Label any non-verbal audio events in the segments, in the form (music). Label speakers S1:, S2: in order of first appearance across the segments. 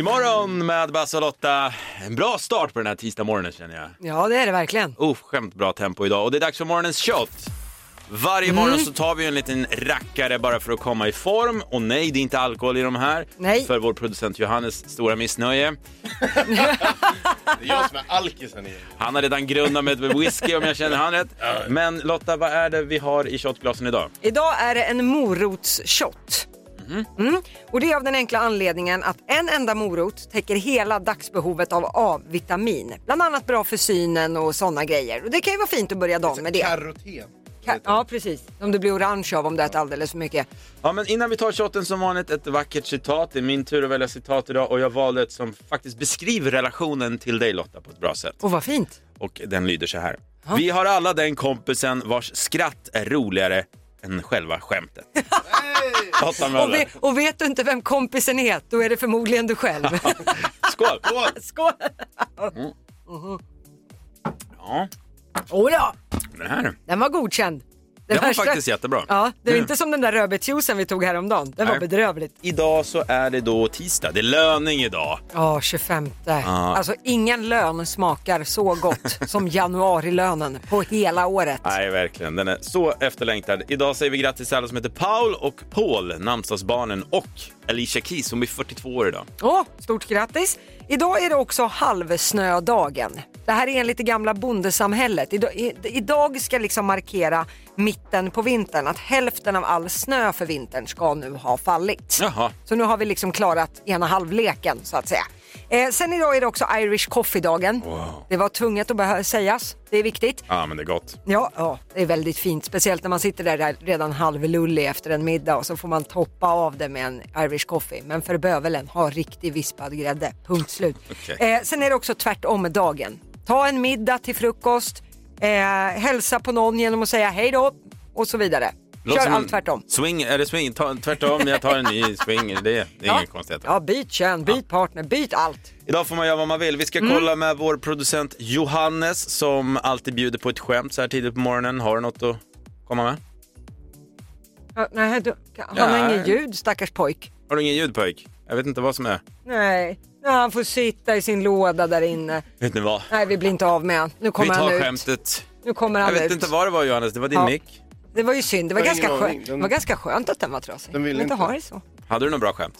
S1: Energymorgon med Basse och Lotta. En bra start på den här tisdagsmorgonen känner jag.
S2: Ja, det är det verkligen.
S1: Oförskämt bra tempo idag och det är dags för morgonens shot. Varje morgon så tar vi en liten rackare bara för att komma i form. Och nej, det är inte alkohol i de här.
S2: Nej.
S1: För vår producent Johannes stora missnöje.
S3: Det är jag som är alkisen i
S1: Han har redan grundat med ett whisky om jag känner han rätt. Men Lotta, vad är det vi har i shotglasen idag?
S2: Idag är det en morotsshot.
S1: Mm-hmm.
S2: Mm. Och det är av den enkla anledningen att en enda morot täcker hela dagsbehovet av A-vitamin. Bland annat bra för synen och sådana grejer. Och det kan ju vara fint att börja dagen med
S1: Alltså,
S2: det.
S3: Karoten.
S2: Ka- ja, precis. Om du blir orange av om du äter alldeles för mycket.
S1: Ja, men innan vi tar shotten som vanligt, ett vackert citat. Det är min tur att välja citat idag och jag valde ett som faktiskt beskriver relationen till dig Lotta på ett bra sätt.
S2: Och vad fint.
S1: Och den lyder så här. Vi har alla den kompisen vars skratt är roligare än själva skämtet. Lotta
S2: (laughs) Och, ve-
S1: Möller.
S2: och vet du inte vem kompisen är, då är det förmodligen du själv.
S1: Skål!
S2: (laughs) Skål!
S1: Ja,
S2: Oh, ja.
S1: den här.
S2: Den var godkänd. Den
S1: Den var
S2: värsta-
S1: faktiskt jättebra.
S2: Ja, det är
S1: Mm.
S2: inte som den där rödbetsjuicen vi tog häromdagen. Den var
S1: Nej.
S2: bedrövligt.
S1: Idag så är det då tisdag. Det är löning idag.
S2: Ja, 25. Alltså ingen lön smakar så gott som januarilönen på hela året.
S1: Nej, verkligen. Den är så efterlängtad. Idag säger vi grattis till alla som heter Paul och Paul, namnsdagsbarnen, och Alicia Keys. Hon blir 42 år idag.
S2: Åh, stort grattis! Idag är det också halvsnödagen. Det här är enligt det gamla bondesamhället. Idag, i, idag ska liksom markera mitten på vintern, att hälften av all snö för vintern ska nu ha fallit.
S1: Jaha.
S2: Så nu har vi liksom klarat ena halvleken så att säga. Eh, sen idag är det också Irish Coffee-dagen. Det var tunget att behö- sägas, det är viktigt.
S1: Ja, men det är gott.
S2: Ja, ja, det är väldigt fint. Speciellt när man sitter där redan halvlullig efter en middag och så får man toppa av det med en Irish coffee. Men för bövelen, ha riktig vispad grädde. Punkt slut.
S1: Okej.
S2: Eh, sen är det också tvärtom-dagen. Ta en middag till frukost, eh, hälsa på någon genom att säga hej då och så vidare.
S1: Låter
S2: Kör
S1: som
S2: allt
S1: en
S2: tvärtom.
S1: Swing, är det swing? Ta, tvärtom, jag tar en
S2: (laughs)
S1: ny swing. Det, det är inget konstigt.
S2: Ja, byt kön, byt partner, byt allt.
S1: Idag får man göra vad man vill. Vi ska
S2: Mm.
S1: kolla med vår producent Johannes som alltid bjuder på ett skämt så här tidigt på morgonen. Har du något att komma med?
S2: Ja, nej, du, han har
S1: Nej.
S2: inget ljud, stackars pojk.
S1: Har du ingen ljud pojk? Jag vet inte vad som är.
S2: Nej, nej, han får sitta i sin låda där inne.
S1: Vet ni vad?
S2: Nej, vi blir inte av med honom. Nu
S1: Vi
S2: kommer han
S1: tar
S2: ut.
S1: skämtet.
S2: Nu kommer han
S1: Jag
S2: ut.
S1: vet inte vad det var Johannes, det var din
S2: Ja.
S1: mick.
S2: Det var ju synd. Det var,
S3: Jag har
S2: ganska,
S3: ingen aning.
S2: skönt.
S3: Den-
S2: det var ganska skönt att den var trasig.
S3: Den vill
S2: Men
S3: inte.
S2: ha det så.
S1: Hade du något bra skämt?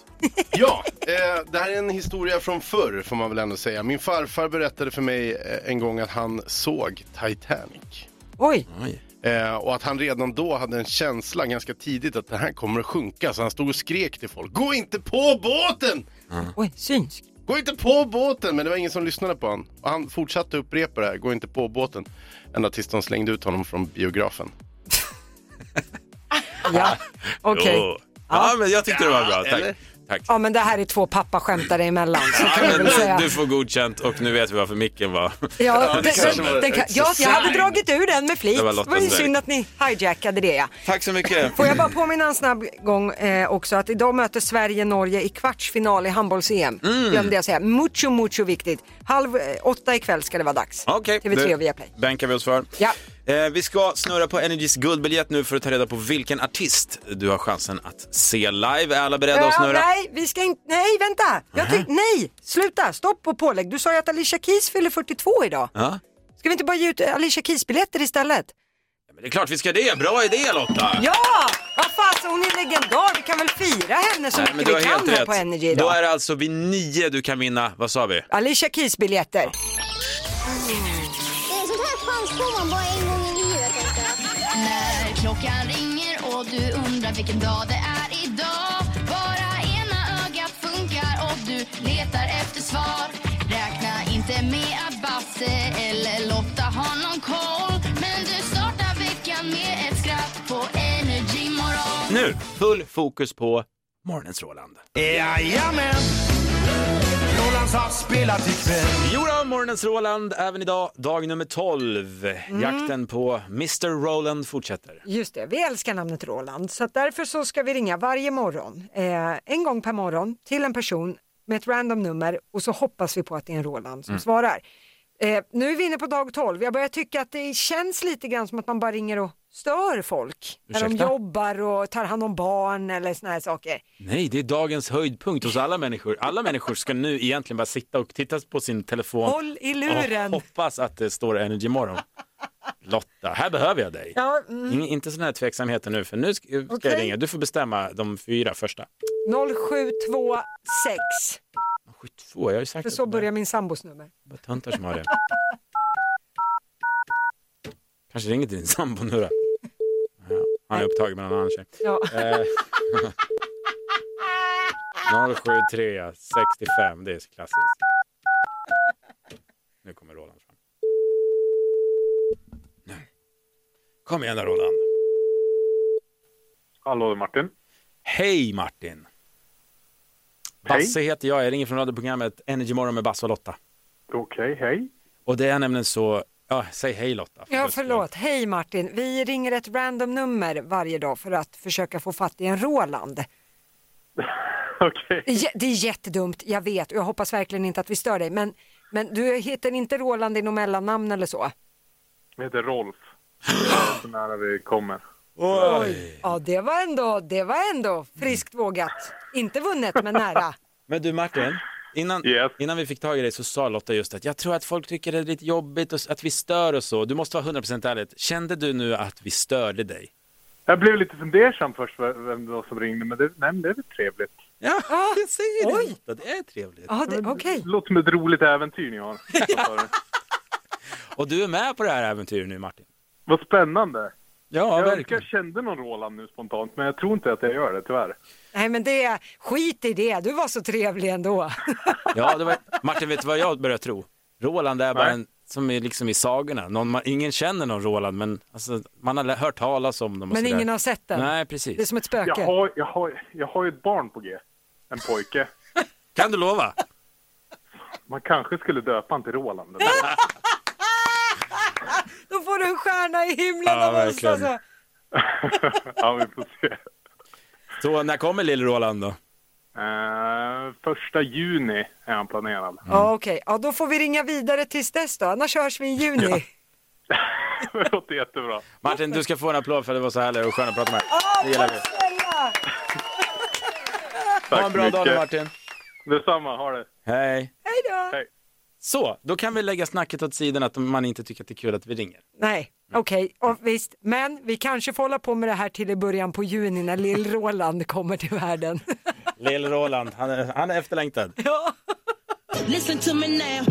S3: Ja, eh, det här är en historia från förr får man väl ändå säga. Min farfar berättade för mig eh, en gång att han såg Titanic.
S2: Oj,
S1: Oj.
S3: Eh, och att han redan då hade en känsla ganska tidigt att det här kommer att sjunka. Så han stod och skrek till folk. Gå inte på båten!
S2: oj, synsk.
S3: Gå inte på båten! Men det var ingen som lyssnade på honom. Och han fortsatte upprepa det här. Gå inte på båten. Ända tills de slängde ut honom från biografen.
S2: Ja, okej.
S1: (laughs) Jo. Ja, men jag tyckte det var bra. Tack.
S3: eller?
S1: Tack.
S2: Ja, men det här är två pappaskämtare emellan. Så kan
S1: Ja,
S2: jag
S1: men
S2: väl säga.
S1: nu, du får godkänt och nu vet vi varför micken var... (laughs)
S2: Ja, det,
S3: kanske
S2: den,
S3: var
S2: den, kan- ja, jag hade dragit ur den med flit.
S1: Det
S2: Det
S1: var
S2: var,
S1: Lottas
S2: ju
S1: verk.
S2: synd att ni hijackade det. Ja.
S1: Tack så mycket.
S2: Får jag bara påminna en snabb gång eh, också att idag möter Sverige Norge i kvartsfinal i handbolls-EM.
S1: Mm.
S2: Glömde jag säga. Mucho, mucho viktigt. Halv eh, åtta ikväll ska det vara dags.
S1: Okej,
S2: TV3
S1: det
S2: och Viaplay.
S1: bänkar vi oss för.
S2: Ja.
S1: Eh, vi ska snurra på Energys guldbiljett nu för att ta reda på vilken artist du har chansen att se live. Är alla beredda att
S2: Ja,
S1: snurra?
S2: nej, vi ska inte... Nej, vänta! Jag tyck, nej, sluta! Stopp på pålägg. Du sa ju att Alicia Keys fyller 42 idag.
S1: Ja.
S2: Ska vi inte bara ge ut Alicia Keys-biljetter istället?
S1: Men det är klart vi ska det. Bra idé Lotta!
S2: Ja! Vad fasen, hon är legendar. Vi kan väl fira henne så
S1: Nej, men
S2: mycket
S1: du
S2: vi
S1: har
S2: kan
S1: helt
S2: här
S1: rätt.
S2: på Energy
S1: Då
S2: idag.
S1: är det alltså vid nio du kan vinna, vad sa vi?
S2: Alicia Keys-biljetter.
S4: Det är Eh, sånt här chans får man bara en gång i livet. tänker jag.
S5: När klockan ringer och du undrar vilken dag det är idag Bara ena ögat funkar och du letar efter svar Räkna inte med att Basse eller Lotta har någon koll Men du startar veckan med ett skratt på Energy morgon
S1: Nu, full fokus på morgonens Roland.
S6: Jajamän! Rolands har spelat ikväll.
S1: Jodå, morgonens Roland, även idag, dag nummer 12.
S2: Mm.
S1: Jakten på Mr Roland fortsätter.
S2: Just det, vi älskar namnet Roland. Så att därför så ska vi ringa varje morgon, eh, en gång per morgon, till en person med ett random nummer och så hoppas vi på att det är en Roland som svarar. Eh, nu är vi inne på dag 12. Jag börjar tycka att det känns lite grann som att man bara ringer och stör folk. När de
S1: Ursäkta?
S2: jobbar och tar hand om barn eller såna här saker.
S1: Nej, det är dagens höjdpunkt hos alla människor. Alla människor ska nu egentligen bara sitta och titta på sin telefon
S2: Håll i luren.
S1: och hoppas att det står Energy Morgon. Lotta, här behöver jag dig.
S2: Ja, mm.
S1: Ingen- inte sådana här tveksamheter nu, för nu ska, ska jag
S2: Okej.
S1: ringa. Du får bestämma de fyra första.
S2: 0726.
S1: 72, jag har ju sagt
S2: För
S1: att
S2: så
S1: det
S2: börjar min sambos nummer.
S1: bara töntar som har det. Kanske ringer till din sambo nu då. Ja, han är upptagen med någon annan tjej.
S2: Ja.
S1: Eh, 073 65, det är så klassiskt. Nu kommer Roland fram. Nu. Kom igen då Roland.
S7: Hallå Martin.
S1: Hej Martin!
S7: Hej.
S1: Basse heter jag, jag ringer från radioprogrammet Energy Morgon med Basse och Lotta.
S7: Okej, hej. (laughs)
S1: Och det är nämligen så, ja säg hej Lotta.
S2: Ja, förlåt. Hej Martin. Vi ringer ett random nummer varje dag för att försöka få fatt i en Roland.
S7: Okej.
S2: Det är jä- Det är jättedumt, jag vet. Och jag hoppas verkligen inte att vi stör dig. Men, men du heter inte Roland i något mellannamn eller så?
S7: Jag heter Rolf. Det är Så nära vi kommer.
S1: Oj.
S2: Ja, det var ändå, det var ändå friskt vågat. Inte vunnet, men nära.
S1: Men du Martin, innan,
S7: Yes.
S1: innan vi fick tag i dig så sa Lotta just att jag tror att folk tycker det är lite jobbigt och s- att vi stör och så. Du måste vara 100% ärlig. Kände du nu att vi störde dig?
S7: Jag blev lite fundersam först vem vem det var som ringde, men det, nej, men det är väl trevligt.
S1: Ja,
S2: (laughs)
S1: jag säger
S2: oj.
S1: det Lotta, det är trevligt.
S2: Ja, det- okej.
S7: Det låter som ett roligt äventyr ni
S1: (laughs)
S7: har.
S1: Och du är med på det här äventyret nu Martin?
S7: Vad spännande.
S1: Ja,
S7: jag önskar
S1: verkligen.
S7: jag kände någon Roland nu spontant, men jag tror inte att jag gör det tyvärr.
S2: Nej, men det, skit i det. Du var så trevlig ändå.
S1: (laughs) Ja, det var... Martin, vet du vad jag börjar tro? Roland är bara
S7: Nej.
S1: en som är liksom i sagorna. Någon, man, ingen känner någon Roland, men alltså, man har lä- hört talas om dem. Och
S2: Men
S1: sådär.
S2: ingen har sett den.
S1: Nej,
S2: Det är
S1: precis.
S2: som ett
S7: Jag
S2: spöke.
S7: har, jag, har, jag har ju ett barn på G. En pojke.
S1: Kan du lova?
S7: Man kanske skulle döpa han till
S1: (laughs)
S7: Roland.
S2: Då får du en stjärna i himlen
S1: Ja,
S2: av oss.
S1: verkligen.
S2: Alltså.
S7: ja, vi får se.
S1: Så när kommer lille Roland då?
S7: Eh, första juni är han planerad.
S2: Ja, okej. Ja, då får vi ringa vidare tills dess då. Annars hörs vi i juni. Ja,
S7: (laughs) det låter jättebra.
S1: Martin, du ska få en applåd för det var så härligt och skönt att prata med dig.
S2: Ah,
S1: Det gillar vi.
S2: snälla!
S1: Ha en bra dag nu Martin.
S7: Detsamma, ha det.
S1: Hej.
S2: Hej då!
S7: Hej.
S1: Så, då kan vi lägga snacket åt sidan att man inte tycker att det är kul att vi ringer.
S2: Nej, okej. Ja, Visst, men vi kanske får hålla på med det här till i början på juni när Lill-Roland kommer till världen. (laughs)
S1: Lill Roland, han är, han är efterlängtad.
S2: ja.
S8: Listen to me now.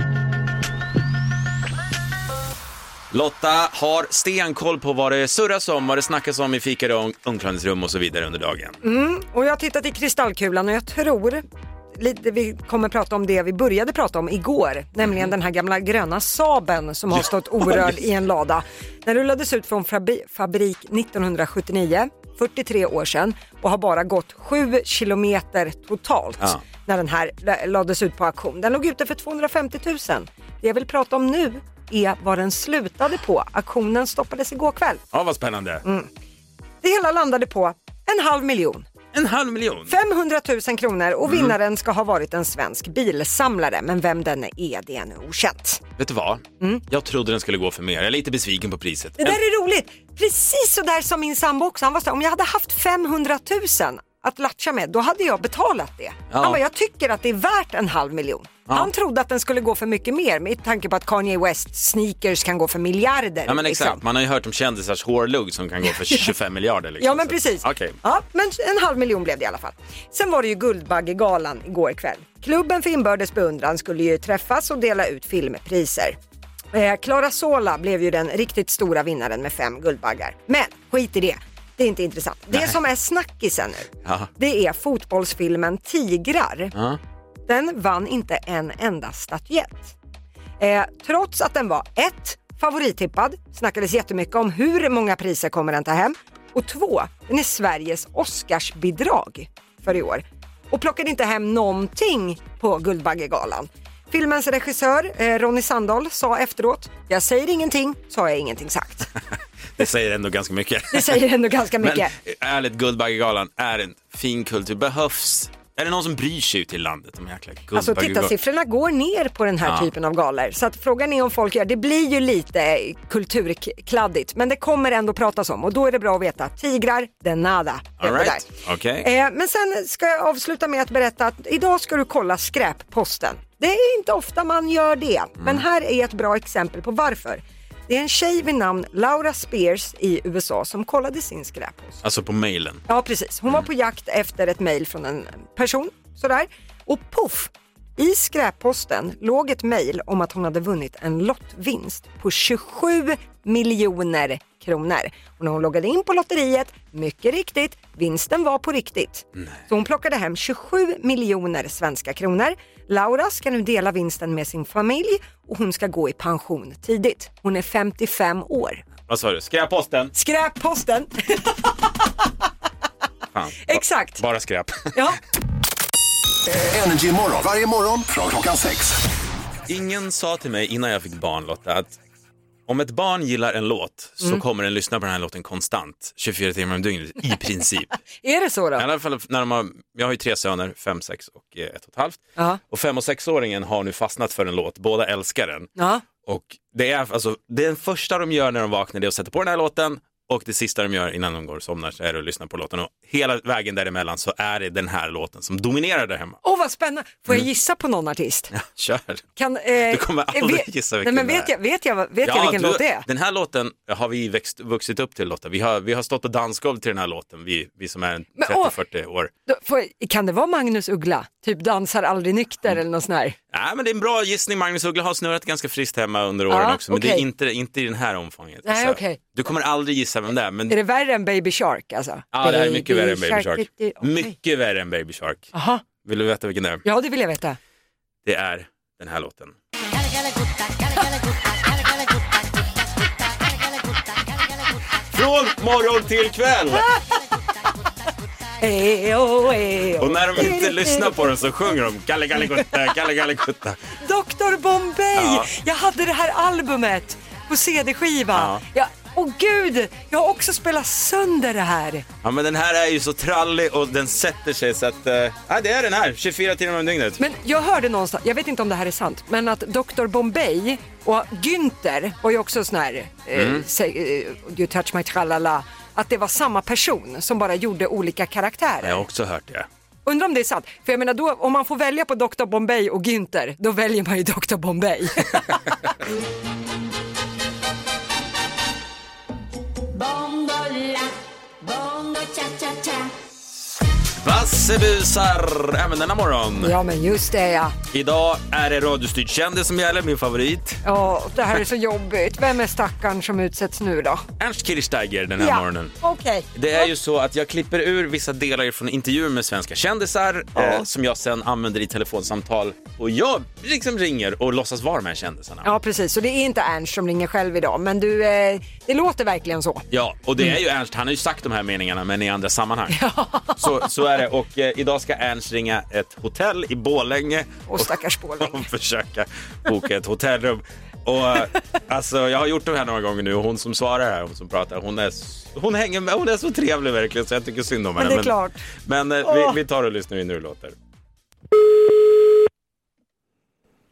S1: Lotta har stenkoll på vad det surras om, vad det snackas om i fikare och omklädningsrum och så vidare under dagen.
S2: Mm. Och jag har tittat i kristallkulan och jag tror lite, vi kommer prata om det vi började prata om igår, nämligen den här gamla gröna Saben som har stått orörd i en lada. Den rullades ut från fabri- fabrik 1979, 43 år sedan och har bara gått 7 kilometer totalt
S1: Ja.
S2: när den här la- lades ut på auktion. Den låg ute för 250 000. Det jag vill prata om nu är vad den slutade på. Auktionen stoppades igår kväll.
S1: Ja, vad spännande.
S2: Mm. Det hela landade på en halv miljon.
S1: En halv miljon.
S2: 500 000 kronor
S1: Mhm.
S2: och vinnaren ska ha varit en svensk bilsamlare. Men vem den är, det är ännu okänt.
S1: Vet du vad? Jag trodde den skulle gå för mer. Jag är lite besviken på priset.
S2: Mm. Det där är roligt. Precis så där som min sambo också. Han var så här, om jag hade haft 500 000 att latcha med, då hade jag betalat det.
S1: Ja.
S2: Han bara, jag tycker att det är värt en halv miljon. Han trodde att den skulle gå för mycket mer med tanke på att Kanye West sneakers kan gå för miljarder.
S1: Ja men
S2: liksom.
S1: exakt, man har ju hört om kändisars hårlugg som kan
S2: (laughs)
S1: gå för 25 miljarder. Liksom.
S2: Ja men
S1: Så-
S2: precis.
S1: Okej.
S2: Ja, men en halv miljon blev det i alla fall. Sen var det ju Guldbaggegalan igår kväll. Klubben för inbördes beundran skulle ju träffas och dela ut filmpriser. Eh, Clara Sola blev ju den riktigt stora vinnaren med fem Guldbaggar. Men skit i det. Det är inte intressant. Det som är snackisen nu,
S1: Ja.
S2: det är fotbollsfilmen Tigrar.
S1: Ja.
S2: Den vann inte en enda statyett. Eh, trots att den var ett, favorittippad, snackades jättemycket om hur många priser kommer den ta hem. Och två, den är Sveriges Oscarsbidrag för i år. Och plockade inte hem någonting på Guldbaggegalan. Filmens regissör eh, Ronny Sandahl sa efteråt, jag säger ingenting, så har jag ingenting sagt.
S1: Det säger ändå ganska mycket. (laughs)
S2: Det säger ändå ganska
S1: Men eh,
S2: mycket.
S1: ärligt, Guldbaggegalan är en fin kultur. Behövs. Är det någon som bryr sig ute i landet? De jäkla gubbar,
S2: Alltså tittarsiffrorna går ner på den här
S1: Ja.
S2: typen av galor. Så att frågan är om folk gör, det blir ju lite kulturkladdigt men det kommer ändå pratas om och då är det bra att veta. Tigrar, de nada. Det
S1: All
S2: var
S1: right.
S2: där.
S1: Okej.
S2: Eh, men sen ska jag avsluta med att berätta att idag ska du kolla skräpposten. Det är inte ofta man gör det,
S1: Mm.
S2: men här är ett bra exempel på varför. Det är en tjej vid namn Laura Spears i USA som kollade sin skräppost.
S1: Alltså på mejlen.
S2: Ja, precis. Hon var på jakt efter ett mejl från en person. Sådär. Och poff! I skräpposten låg ett mejl om att hon hade vunnit en lottvinst på 27 miljoner kronor. Och när hon loggade in på lotteriet, mycket riktigt, vinsten var på riktigt. Så hon plockade hem 27 miljoner svenska kronor. Laura ska nu dela vinsten med sin familj och hon ska gå i pension tidigt. Hon är 55 år.
S1: Vad sa du? Skräpposten?
S2: Skräpposten!
S1: Fan.
S2: Exakt!
S1: Bara skräp. (laughs)
S2: Ja.
S9: Energy morgon. Varje morgon från klockan sex.
S1: Ingen sa till mig innan jag fick barn Lotta att om ett barn gillar en låt så
S2: Mm.
S1: kommer den lyssna på den här låten konstant 24 timmar om dygnet i
S2: (laughs)
S1: princip.
S2: Är det så då?
S1: I alla fall när de har, jag har ju tre söner, fem, sex och eh, ett och ett halvt.
S2: Ja.
S1: Och fem och sexåringen har nu fastnat för en låt, båda älskar den.
S2: Ja.
S1: Och det är alltså, det är den första de gör när de vaknar det är att sätta på den här låten och det sista de gör innan de går och somnar så är det att lyssna på låten. Och hela vägen däremellan så är det den här låten som dominerar där hemma.
S2: Åh vad spännande! Får jag gissa på någon artist?
S1: Kör!
S2: Kan, eh,
S1: Mm. (laughs) Du kommer aldrig
S2: vet,
S1: gissa
S2: nej,
S1: vilken
S2: men
S1: det
S2: vet
S1: är.
S2: jag, vet jag, vet jag vilken
S1: du-
S2: låt det är?
S1: Den här låten har vi växt, vuxit upp till Lotta. Vi har, vi har stått på dansgolv till den här låten, vi, vi som är en
S2: Men,
S1: 30-40 år.
S2: Då Får, jag- kan det vara Magnus Uggla? Typ dansar aldrig nykter eller något sånt här?
S1: Nej, men det är en bra gissning. Magnus Uggla har snurrat ganska friskt hemma under åren
S2: Ja,
S1: också, men det är
S2: okej.
S1: inte, inte i den här omfånget.
S2: Nej,
S1: Så
S2: okej.
S1: Du kommer aldrig gissa vem det är, men
S2: Är det värre än Baby Shark alltså?
S1: ja, det här är mycket värre än Baby Shark.
S2: det- okej.
S1: Mycket värre än Baby Shark.
S2: Aha.
S1: Vill du veta vilken det är?
S2: Ja, det vill jag veta.
S1: Det är den här låten. Från morgon till kväll!
S2: Eh, oh, eh, oh.
S1: Och när de
S2: (laughs)
S1: inte lyssnar på den så sjunger de Kalle Kalle Gutta, Kalle Kalle Gutta.
S2: Dr Bombay!
S1: Ja.
S2: Jag hade det här albumet på CD-skiva.
S1: Ja.
S2: Ja. Åh gud, jag har också spelat sönder det här.
S1: Ja men den här är ju så trallig och den sätter sig så att, eh, ja det är den här, 24 timmar om dygnet.
S2: Men jag hörde någonstans, jag vet inte om det här är sant, men att Dr. Bombay och Günther var ju också sån här, eh,
S1: Mm.
S2: say, eh, you touch my tralala, att det var samma person som bara gjorde olika karaktärer.
S1: Jag har också hört det.
S2: Undrar om det är sant, för jag menar då, om man får välja på Dr. Bombay och Günther, då väljer man ju Dr.
S1: (laughs)
S2: Bombay.
S5: Bondola, bongo cha-cha-cha
S1: Vassebusar, även denna morgon.
S2: ja men just det ja,
S1: Idag är det radiostyrd kändis som gäller, min favorit.
S2: ja det här är så jobbigt. Vem är stackaren som utsätts nu då?
S1: Ernst Kirchsteiger den här
S2: ja,
S1: morgonen.
S2: okej.
S1: Det är ju så att jag klipper ur vissa delar från intervjuer med svenska kändisar eh, som jag sen använder i telefonsamtal och jag liksom ringer och låtsas vara med kändisarna.
S2: Ja precis, så det är inte Ernst som ringer själv idag, men du, eh, det låter verkligen så.
S1: Ja, och det är
S2: Mm.
S1: ju Ernst, han har ju sagt de här meningarna men i andra sammanhang. Så, så är det och eh, idag ska Ernst ringa ett hotell i Borlänge
S2: Och stackars
S1: (laughs)
S2: Borlänge.
S1: och försöka boka ett hotellrum. Och eh, alltså jag har gjort det här några gånger nu och hon som svarar här, hon som pratar, hon är, s- hon hänger med, hon är så trevlig verkligen så jag tycker synd om henne.
S2: det är klart.
S1: Men eh,
S2: Åh.
S1: vi, vi tar och lyssnar in hur det låter.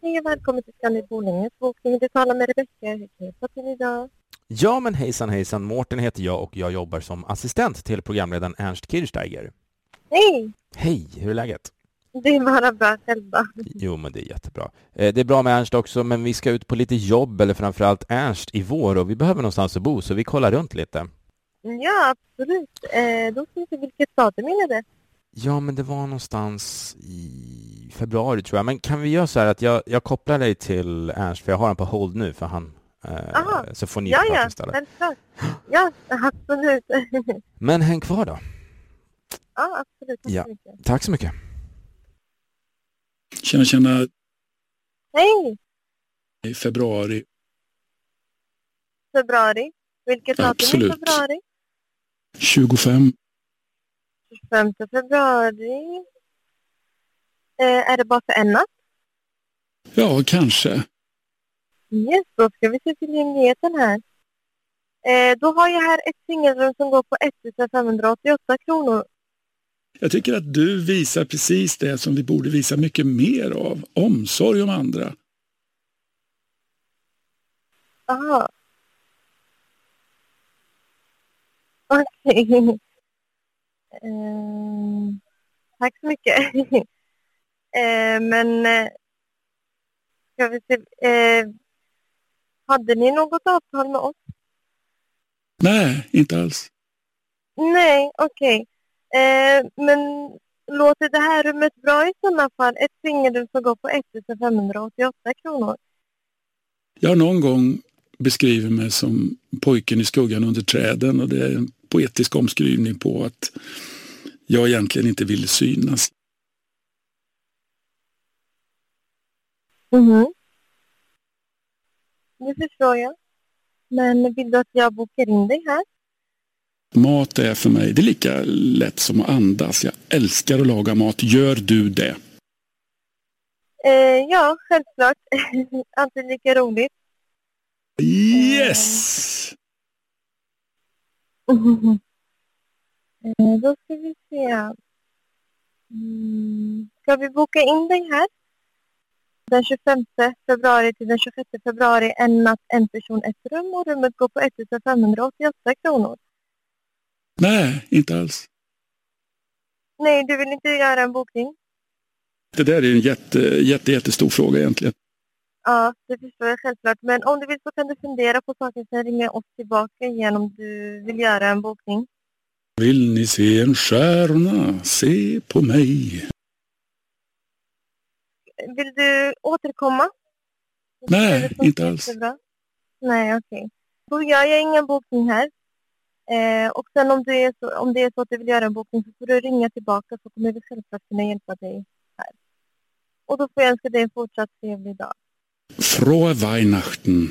S10: Hej och välkommen till Scandic Borlänge. Bokning, du talar med Rebecka. Hur kan jag hjälpa till idag?
S11: Ja men hejsan hejsan, Mårten heter jag och jag jobbar som assistent till programledaren Ernst Kirchsteiger.
S10: Hej!
S11: Hej, hur är läget?
S10: Det är bara bra själva.
S11: Jo men det är jättebra. Eh, Det är bra med Ernst också men vi ska ut på lite jobb eller framförallt Ernst i vår och vi behöver någonstans att bo så vi kollar runt lite.
S10: Ja, absolut. Eh, då ska vi se vilket datum är det?
S11: Ja men det var någonstans i februari tror jag, men kan vi göra så här att jag, jag kopplar dig till Ernst för jag har honom på hold nu för han
S10: Aha.
S11: eh, så får ni
S10: Ja,
S11: prata
S10: ja,
S11: istället.
S10: självklart. Ja, absolut. (laughs)
S11: Men häng kvar då.
S10: ja, absolut. Tack
S11: Ja.
S10: så mycket.
S11: Tack så mycket.
S6: Tjena, tjena.
S10: Hej!
S6: I februari.
S10: Februari. Vilket datum är
S6: Absolut.
S10: februari?
S6: 25.
S10: 5 februari. Eh, är det bara för en natt?
S6: Ja, kanske.
S10: Yes, då ska vi se tillgängligheten här. Eh, då har jag här ett singelrum som går på 1588 kronor
S6: Jag tycker att du visar precis det som vi borde visa mycket mer av. Omsorg om andra.
S10: (laughs) Aha. Eh, Okej. Ehm, tack så mycket. (laughs) Ehm, men eh, ska vi se. Eh, hade ni något avtal med oss?
S6: Nej, inte alls.
S10: Nej, okej. Eh, men låter det här rummet bra i sådana fall? Ett fingerrum som går på 1588 kronor.
S6: Jag har någon gång beskrivit mig som pojken i skuggan under träden och det är en poetisk omskrivning på att jag egentligen inte ville synas.
S10: Mhm. Det förstår jag. Men vill du att jag bokar in dig här?
S6: Mat är för mig, det är lika lätt som att andas. Jag älskar att laga mat. Gör du det?
S10: Eh, ja, självklart. (laughs) Alltid lika roligt.
S6: Yes!
S10: Eh, då ska vi se. Mm. Ska vi boka in dig här? Den 25 februari till den 26 februari, en natt, en person, ett rum och rummet går på 1588 kronor.
S6: Nej, inte alls.
S10: Nej, du vill inte göra en bokning?
S6: Det där är en jätte, jätte, jättestor fråga egentligen.
S10: Ja, det förstår jag självklart. Men om du vill så kan du fundera på saken, sen ringa oss tillbaka igen om du vill göra en bokning.
S6: Vill ni se en stjärna? Se på mig.
S10: Vill du återkomma?
S6: Nej, inte alls.
S10: Jättebra. Nej, okej. Då gör jag ingen bokning här. Eh, och sen om, du är så, om det är så att du vill göra en bokning så får du ringa tillbaka så kommer vi självklart kunna hjälpa dig här. Och då får jag önska dig en fortsatt trevlig dag.
S6: Frohe Weihnachten.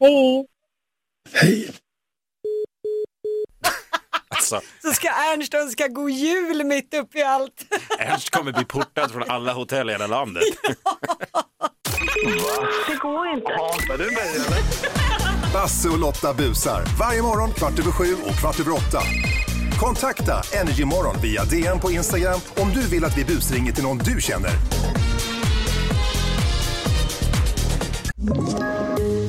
S10: Hej!
S6: Hej!
S1: Alltså,
S2: Så ska Ernst önska god jul mitt upp i allt.
S1: Ernst kommer bli portad från alla hotell i hela landet.
S10: Det går inte.
S3: Hatar du mig eller?
S9: Basse och Lotta busar. Varje morgon kvart över sju och kvart över åtta. Kontakta Energymorgon via DM på Instagram om du vill att vi busringer till någon du känner.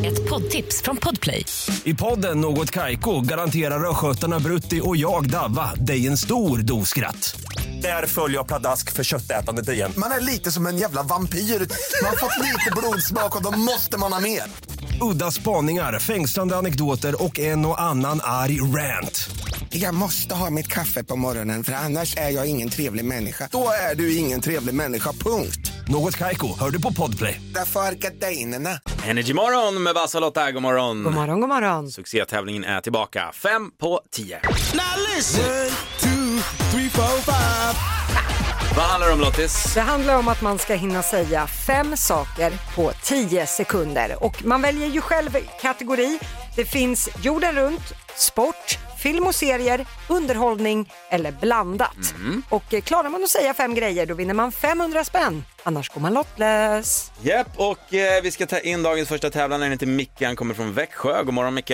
S12: Ett poddtips från Podplay.
S13: I podden Något Kaiko garanterar östgötarna Brutti och jag, Davva, dig en stor dos skratt. Där följer jag pladask för köttätandet igen.
S14: Man är lite som en jävla vampyr. Man har fått lite blodsmak och då måste man ha mer.
S13: Udda spaningar, fängslande anekdoter och en och annan arg rant.
S14: Jag måste ha mitt kaffe på morgonen för annars är jag ingen trevlig människa. Då är du ingen trevlig människa, punkt.
S13: Något Kaiko, hör du på Podplay.
S14: Därför är gardinerna.
S1: Energy morgon med Bassa och Lotta, god morgon. God
S2: morgon, god morgon.
S1: Succétävlingen är tillbaka, fem på tio.
S8: Now listen.
S1: Vad handlar det om Lottis?
S2: Det handlar om att man ska hinna säga fem saker på tio sekunder. Och man väljer ju själv kategori. Det finns jorden runt, sport, film och serier, underhållning eller blandat. Och eh, klarar man att säga fem grejer då vinner man 500 spänn. Annars går man lottlös.
S1: Japp, och eh, vi ska ta in dagens första tävlande. Han heter Micke, han kommer från Växjö. God morgon Micke.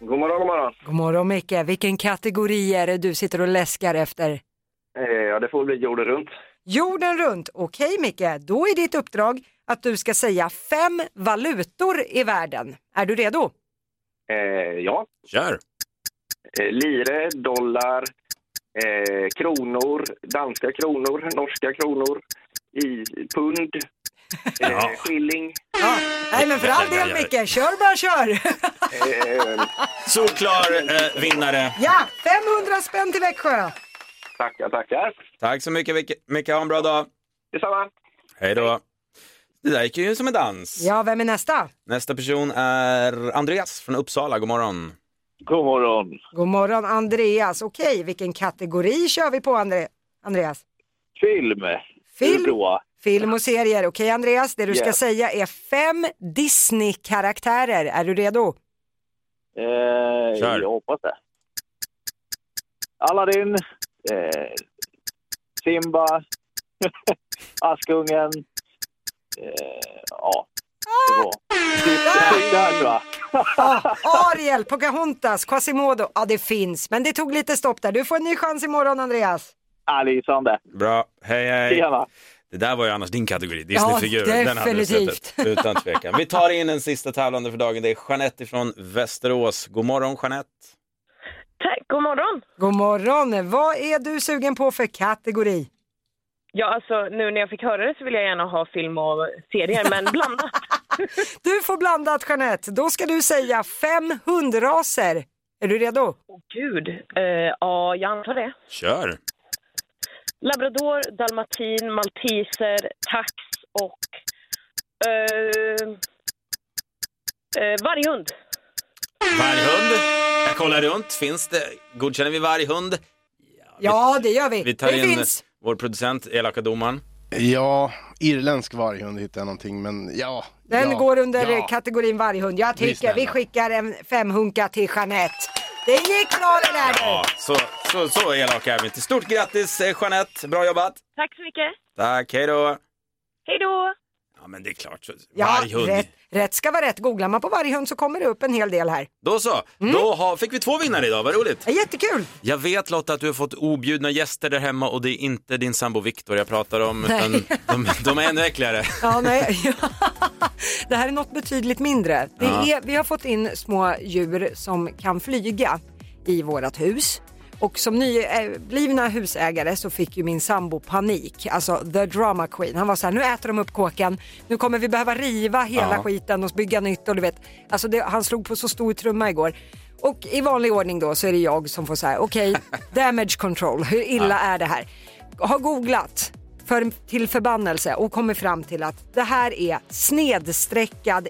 S15: God morgon, god morgon.
S2: God morgon Micke, vilken kategori är det du sitter och läskar efter?
S15: Eh, Ja, det får bli jorden runt.
S2: Jorden runt. Okej Micke, då är ditt uppdrag att du ska säga fem valutor i världen. Är du redo?
S15: Eh, ja.
S1: Kör.
S15: Eh, lire, dollar, eh, kronor, danska kronor, norska kronor, i pund, eh, skilling.
S2: Nej men för all del Micke, kör bara kör!
S15: Eh,
S1: Solklar eh, vinnare.
S2: (laughs) Ja, 500 spänn till Växjö!
S15: tackar, tackar.
S1: Tack så mycket Micke. Micke, ha en bra dag.
S15: Detsamma.
S1: Hej då. Det där gick ju som en dans.
S2: Ja, vem är nästa?
S1: Nästa person är Andreas från Uppsala. God morgon.
S16: God morgon.
S2: God morgon Andreas. Okej, vilken kategori kör vi på Andre- Andreas?
S16: Film.
S2: Film.
S16: Det är bra.
S2: Film och serier. Okej Andreas, det du ska
S16: Ja.
S2: säga är fem Disney-karaktärer. Är du redo?
S16: Eh,
S1: Kör.
S16: Jag hoppas det. Aladdin. Eh, Simba. (laughs) Askungen. Eh, ja, det var... Det, det, det, det, det, det, det, det, det,
S2: Ja, Ariel, Pocahontas, Quasimodo. Ja, det finns, men det tog lite stopp där. Du får en ny chans imorgon, Andreas.
S16: Ja, lysande.
S1: Bra, hej hej.
S16: Tjena.
S1: Det där var ju annars din kategori,
S2: Ja,
S1: Disneyfigurer. Den hade du
S2: definitivt.
S1: suttit, utan tvekan. Vi tar in en sista tävlande för dagen. Det är Jeanette från Västerås. God morgon Jeanette.
S17: Tack, god morgon.
S2: God morgon. Vad är du sugen på för kategori?
S17: Ja, alltså nu när jag fick höra det så vill jag gärna ha film och serier,
S16: (laughs)
S17: men blandat.
S2: Du får blandat, Jeanette. Då ska du säga fem hundraser. Är du redo?
S17: Gud, eh, ja, jag antar det.
S1: Kör.
S17: Labrador, dalmatin, malteser, tax och eh, eh, varghund.
S1: Varghund. Jag kollar runt. Finns det? Godkänner vi varghund?
S2: Ja, det gör vi.
S1: Vi tar
S2: det
S1: in
S2: finns.
S1: vår producent, elaka domaren.
S3: Ja, irländsk varghund hittade jag någonting, men ja.
S2: Den
S3: ja,
S2: går under
S3: ja.
S2: kategorin varghund. Jag
S3: Vi är
S2: tycker vi
S3: snälla.
S2: skickar en femhunka till Jeanette. Det gick bra det där du.
S1: Ja, så, så, så elaka är vi inte. Stort grattis eh, Jeanette, bra jobbat.
S17: Tack så mycket.
S1: Tack, hej då.
S17: Hej då!
S1: Ja, men det är klart. så-
S2: Ja,
S1: Varghund.
S2: rätt, rätt ska vara rätt. Googlar man på varghund så kommer det upp en hel del här.
S1: Då så,
S2: Mm.
S1: då har, fick vi två vinnare idag, vad roligt.
S2: Jättekul.
S1: Jag vet Lotta att du har fått objudna gäster där hemma och det är inte din sambo Viktor jag pratar om,
S2: Nej.
S1: utan de, de är ännu äckligare.
S2: Ja, nej. (laughs) Ja. Det här är något betydligt mindre. Det
S1: Ja.
S2: är, vi har fått in små djur som kan flyga i vårt hus. Och som nyblivna husägare så fick ju min sambo panik, alltså the drama queen. Han var så här, nu äter de upp kåken, nu kommer vi behöva riva hela
S18: Ja.
S2: skiten och bygga nytt och du vet. Alltså det, han slog på så stor trumma igår. Och i vanlig ordning då så är det jag som får säga, okej,
S18: (laughs)
S2: damage control, hur illa
S18: Ja.
S2: är det här? Har googlat för, till förbannelse och kommit fram till att det här är snedstreckad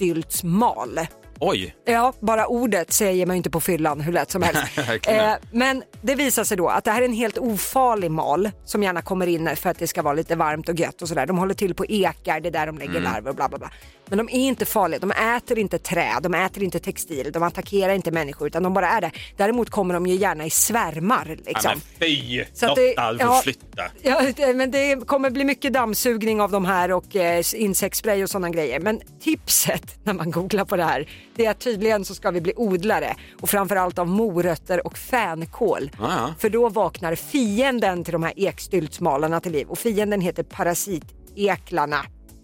S2: ekstyltsmal.
S1: Oj,
S2: Ja, bara ordet säger man ju inte på fyllan hur lätt som helst.
S1: (laughs) Verkligen.
S2: Eh, men det visar sig då att det här är en helt ofarlig mal som gärna kommer in för att det ska vara lite varmt och gött och sådär. De håller till på ekar, det är där de lägger
S18: Mm.
S2: larver och bla bla bla. Men de är inte farliga, de äter inte trä, de äter inte textil, de attackerar inte människor utan de bara är där. Däremot kommer de ju gärna i svärmar liksom.
S1: ja, men fy!
S2: Så att
S1: Lotta,
S2: det-
S1: du får
S2: ja.
S1: flytta.
S2: Ja, det- men det kommer bli mycket dammsugning av de här och eh, insektsspray och sådana grejer. Men tipset (laughs) när man googlar på det här, det är att tydligen så ska vi bli odlare och framförallt av morötter och fänkål.
S1: Ah, Ja.
S2: För då vaknar fienden till de här ekstyltsmalarna till liv och fienden heter parasiteklarna.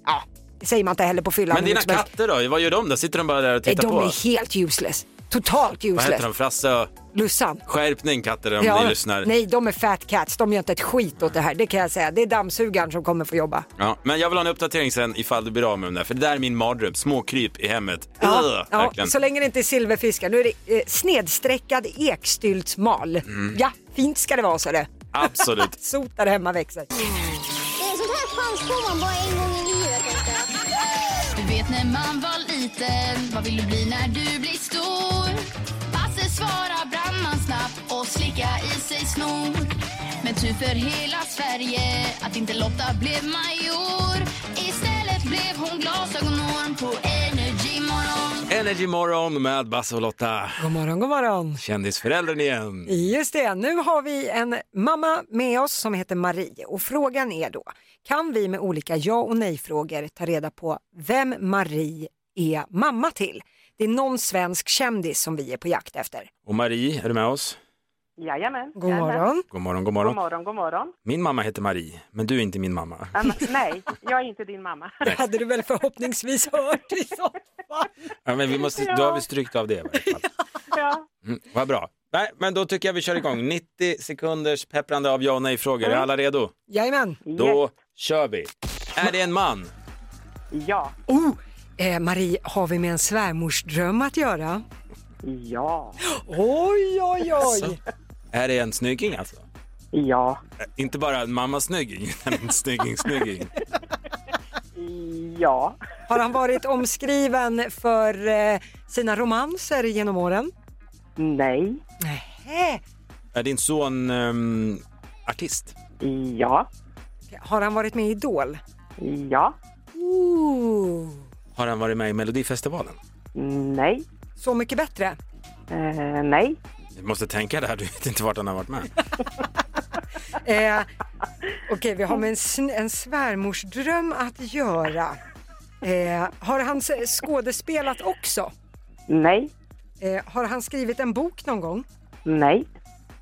S2: Ja, det säger man inte heller på fyllan.
S1: Men
S2: hur
S1: dina
S2: mycket som helst.
S1: katter då, vad gör de där? Sitter de bara där och
S2: Nej,
S1: tittar
S2: de
S1: på?
S2: är helt useless. Totalt
S1: Vad
S2: useless.
S1: heter de? Frasse och...
S2: Lussan.
S1: Skärpning katter om ni lyssnar.
S2: Nej, de är fat cats. De gör inte ett skit åt det här. Det kan jag säga. Det är dammsugaren som kommer få jobba.
S1: Ja, men jag vill ha en uppdatering sen ifall du blir av med dem där, för det där är min mardröm. Småkryp i hemmet. Ugh,
S2: Ja,
S1: verkligen.
S2: så länge det inte är silverfiskar. Nu är det eh, snedstreckad ekstyltsmal.
S1: Mm.
S2: Ja, fint ska det vara så det.
S1: Absolut.
S2: Sot där hemma växer.
S4: Eh, Sånt här chans får man bara en gång i livet. tänkte jag.
S5: Du vet när man var liten, vad vill du bli när du blir stor? Basse svarar brandman snabbt och slicka i sig snor. Men tur för hela Sverige att inte Lotta blev major. Istället blev hon glasögonorm på Energy Morgon.
S1: Energy morgon med Basse och Lotta.
S2: God morgon, god morgon.
S1: Kändisföräldern igen.
S2: Just det, nu har vi en mamma med oss som heter Marie och frågan är då, kan vi med olika ja och nej-frågor ta reda på vem Marie är mamma till? Det är någon svensk kändis som vi är på jakt efter.
S1: Och Marie, är du med oss?
S19: Jajamän.
S2: God
S19: jajamän.
S2: morgon.
S1: God morgon, god morgon.
S19: God morgon, god morgon.
S1: Min mamma heter Marie, men du är inte min mamma.
S19: Ja, men- nej, jag är inte din mamma. (laughs)
S2: Det hade du väl förhoppningsvis hört i så
S1: Ja, men vi måste, Då har vi strykt av det. i varje fall.
S19: Ja.
S1: Mm, vad bra. Nej, men då tycker jag vi kör igång. 90 sekunders pepprande av ja och nej-frågor. Är alla redo?
S2: Jajamän.
S1: Då kör vi. Är det en man?
S19: Ja.
S2: Oh, eh, Marie, har vi med en svärmorsdröm att göra?
S19: Ja.
S2: Oj, oj,
S1: Alltså.
S2: oj.
S1: Är det en snygging alltså?
S19: Ja.
S1: Inte bara en mamma snygging, (laughs) utan en snygging snygging.
S19: Ja.
S2: Har han varit omskriven för eh, sina romanser genom åren?
S19: Nej.
S2: Hä?
S1: Är din son ehm, artist?
S19: Ja.
S2: Har han varit med i Idol?
S19: Ja.
S2: Ooh.
S1: Har han varit med i Melodifestivalen?
S19: Nej.
S2: Så mycket bättre.
S19: Eh, nej.
S1: Du måste tänka det här, du vet inte vart han har varit med.
S2: Eh, Okej, vi har med en, sn- en svärmorsdröm att göra. Eh, har han s- skådespelat också?
S19: Nej.
S2: Eh, har han skrivit en bok någon gång?
S19: Nej.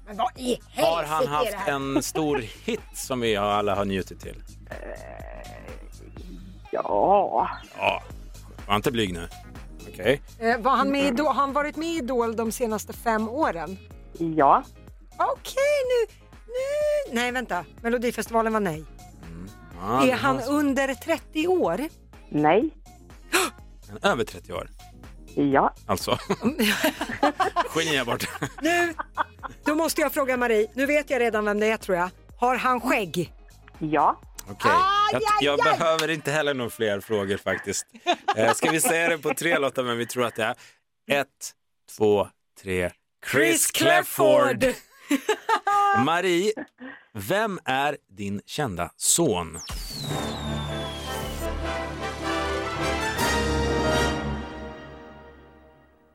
S2: Men vad i
S1: Har han haft en stor hit som vi alla har njutit till?
S19: Ja.
S1: Ja, var inte blyg nu. Okej.
S2: Eh, var han med i Idol, har han varit med i Idol de senaste fem åren?
S19: Ja.
S2: Okej, nu, nu... Nej, vänta. Melodifestivalen var nej.
S1: Ja,
S2: är han under 30 år?
S19: Nej.
S1: Han är över 30 år,
S19: Ja.
S1: alltså. Geni bort.
S2: Nu! Då måste jag fråga Marie. Nu vet jag redan vem det är tror jag. Har han skägg?
S19: Ja.
S1: Okej, jag, jag behöver inte heller några fler frågor faktiskt. Eh, ska vi säga det på tre Lotta, men vi tror att det är ett, två, tre. Chris Clafford! Marie, vem är din kända son?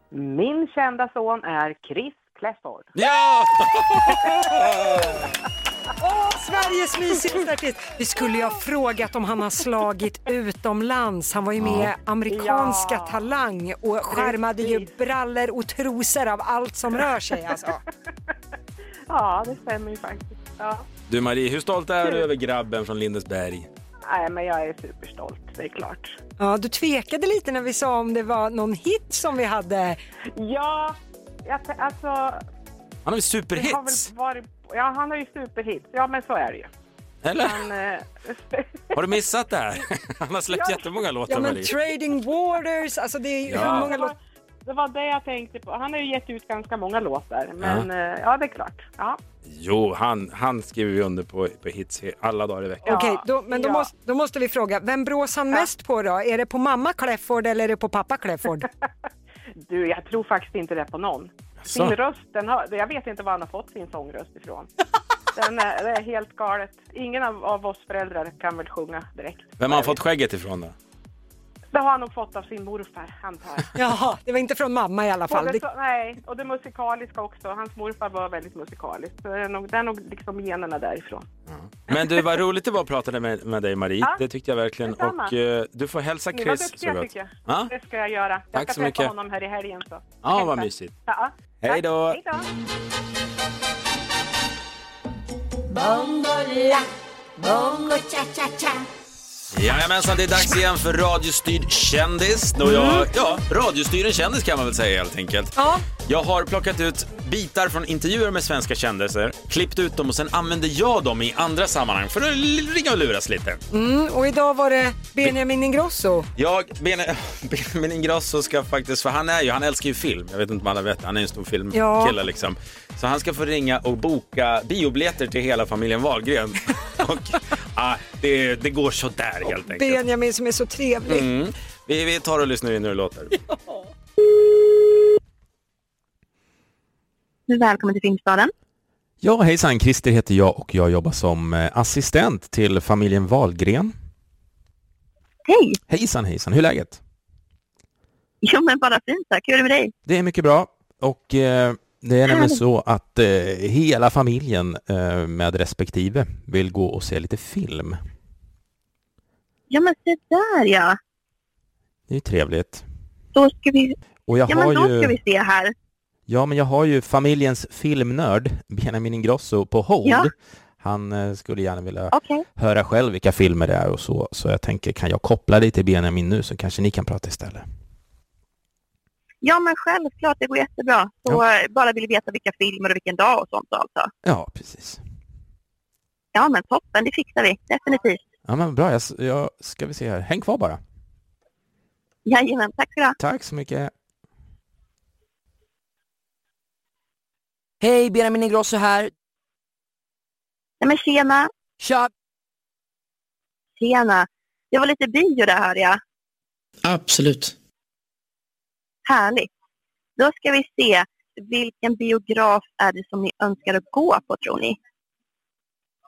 S19: Min kända son är Chris Clafford.
S1: Ja!
S2: Åh, Sveriges mysigaste artist! Vi skulle ju ha frågat om han har slagit utomlands. Han var ju med i Amerikanska Talang och skärmade ju brallor och trosor av allt som rör sig alltså.
S19: Ja, det stämmer ju faktiskt. Ja.
S1: Du Marie, hur stolt är du över grabben från Lindesberg?
S19: Nej, men jag är superstolt, det är klart.
S2: Ja, du tvekade lite när vi sa om det var någon hit som vi hade.
S19: Ja, jag, t- alltså...
S1: Han har ju
S19: det har
S1: superhits,
S19: väl varit, ja, han har ju superhits. Ja, men så är det ju.
S1: eller?
S19: Han, eh,
S1: Har du missat det här? (laughs) Han har släppt jättemånga låtar
S2: Ja, men
S1: Marie.
S2: Trading Waters, alltså det är ju
S1: Ja.
S2: hur många låtar...
S19: det var det jag tänkte på. Han har ju gett ut ganska många låtar, men eh, ja, det är klart. Ja.
S1: Jo, han, han skriver ju under på, på hits he- alla dagar i veckan.
S2: Okej, då, men då, måste, då måste vi fråga, vem brås han mest på då? Är det på mamma Clefford eller är det på pappa Clefford?
S19: Du, jag tror faktiskt inte det på någon. Sin röst, den har, jag vet inte var han har fått sin sångröst
S1: (laughs)
S19: ifrån. Den är, det är helt galet. Ingen av, av oss föräldrar kan väl sjunga direkt.
S1: Vem har han fått skägget ifrån då?
S19: Det har han nog fått av sin morfar, antar
S1: (laughs)
S19: jag.
S2: Jaha, det var inte från mamma i alla fall. Det,
S19: Både så, nej, och det musikaliska också. Hans morfar var väldigt musikalisk. Så det är nog, det är nog liksom generna därifrån.
S1: Men du, vad roligt det var att prata med, med dig Marie.
S19: Ja,
S1: Det tyckte jag verkligen.
S19: detsamma.
S1: Och eh, du får hälsa
S19: Ni var
S1: Chris
S19: duktiga
S1: gott.
S19: tycker jag.
S1: Ja,
S19: Det ska jag göra. Jag
S1: Tack
S19: ska
S1: så
S19: träffa
S1: mycket.
S19: honom här i helgen. Så.
S1: ja vad
S19: Hälsa.
S1: mysigt.
S19: Ja,
S1: Hej
S19: tack.
S1: då.
S19: Hej då!
S4: Bongola, bongo cha-cha-cha.
S1: Jajamensan, det är dags igen för radiostyrd kändis. Då
S19: Mm.
S1: jag, ja, radiostyrd en kändis kan man väl säga helt enkelt.
S2: Ja.
S1: Jag har plockat ut bitar från intervjuer med svenska kändisar, klippt ut dem och sen använder jag dem i andra sammanhang för att l- ringa och luras lite.
S2: mm, och idag var det Benjamin Ingrosso.
S1: Jag, Bene- (laughs) Benjamin Ingrosso ska faktiskt, för han är ju, han älskar ju film. Jag vet inte om alla vet det, han är ju en stor filmkille
S2: Ja.
S1: liksom. Så han ska få ringa och boka biobiljetter till hela familjen Wahlgren. och, ah, det, det går så där helt enkelt.
S2: Benjamin som är så trevlig.
S1: Mm. Vi, vi tar och lyssnar in hur det låter.
S10: Välkommen till Filmstaden.
S11: Ja, hejsan, Christer heter jag och jag jobbar som eh, assistent till familjen Wahlgren.
S10: Hej!
S11: Hejsan, hejsan, hur är läget?
S10: Jo men bara fint tack. Hur är det med dig?
S11: Det är mycket bra och eh, det är nämligen så att eh, hela familjen eh, med respektive vill gå och se lite film.
S10: Ja men se där ja.
S11: Det är ju trevligt.
S10: Då ska vi...
S11: Och jag
S10: ja
S11: har
S10: men då
S11: ju...
S10: ska vi se här.
S11: Ja, men jag har ju familjens filmnörd Benjamin Ingrosso på hold.
S10: Ja.
S11: Han eh, skulle gärna vilja
S10: Okej.
S11: höra själv vilka filmer det är och så, så jag tänker kan jag koppla dig till Benjamin nu så kanske ni kan prata istället.
S10: Ja men självklart, det går jättebra. Så eh, bara vill veta vilka filmer och vilken dag och sånt alltså.
S11: Ja, precis.
S10: Ja men toppen, det fixar vi. Definitivt.
S11: Ja, men bra. Jag, s- jag ska vi se här. Häng kvar bara.
S10: Jajamän, tack ska du ha.
S11: Tack så mycket.
S18: Hej, Benjamin Ingrosso här.
S10: Nej men tjena!
S18: Tja!
S10: Tjena! Det var lite bio där hörde jag.
S20: Absolut.
S10: Härligt. Då ska vi se, vilken biograf är det som ni önskar att gå på tror ni?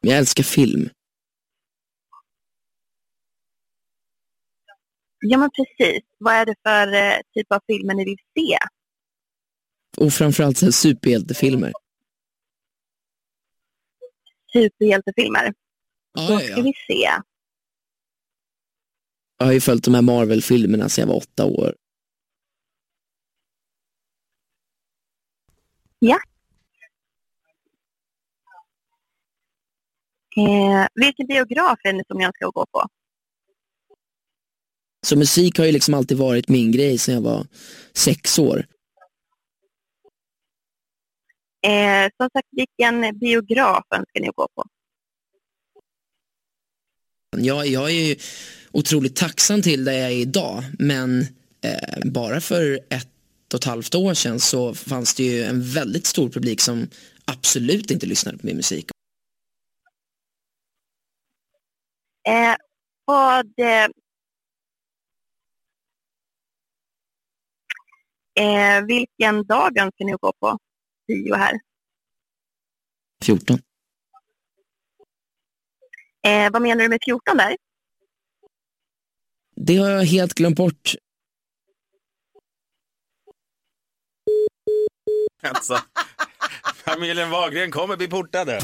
S20: Jag älskar film.
S10: Ja men precis, vad är det för eh, typ av filmer ni vill se?
S20: Och framförallt så här superhjältefilmer.
S10: Superhjältefilmer.
S20: Ja,
S10: Då
S20: ja,
S10: ska
S20: ja.
S10: vi se.
S20: Jag har ju följt de här Marvel-filmerna sedan jag var åtta år.
S10: Ja. Eh, vilken biograf är det som jag ska gå på?
S20: Så musik har ju liksom alltid varit min grej sedan jag var sex år.
S10: Eh, som sagt, vilken biograf önskar ni gå på?
S20: Jag, jag är ju otroligt tacksam till där jag är idag, men eh, bara för ett och ett halvt år sedan så fanns det ju en väldigt stor publik som absolut inte lyssnade på min musik.
S10: Eh, vad... eh, Eh, vilken dag önskar ni gå på bio här?
S20: 14.
S10: Eh, vad menar du med 14 där?
S20: Det har jag helt glömt bort.
S1: Alltså, (laughs) familjen Wahlgren kommer bli portade.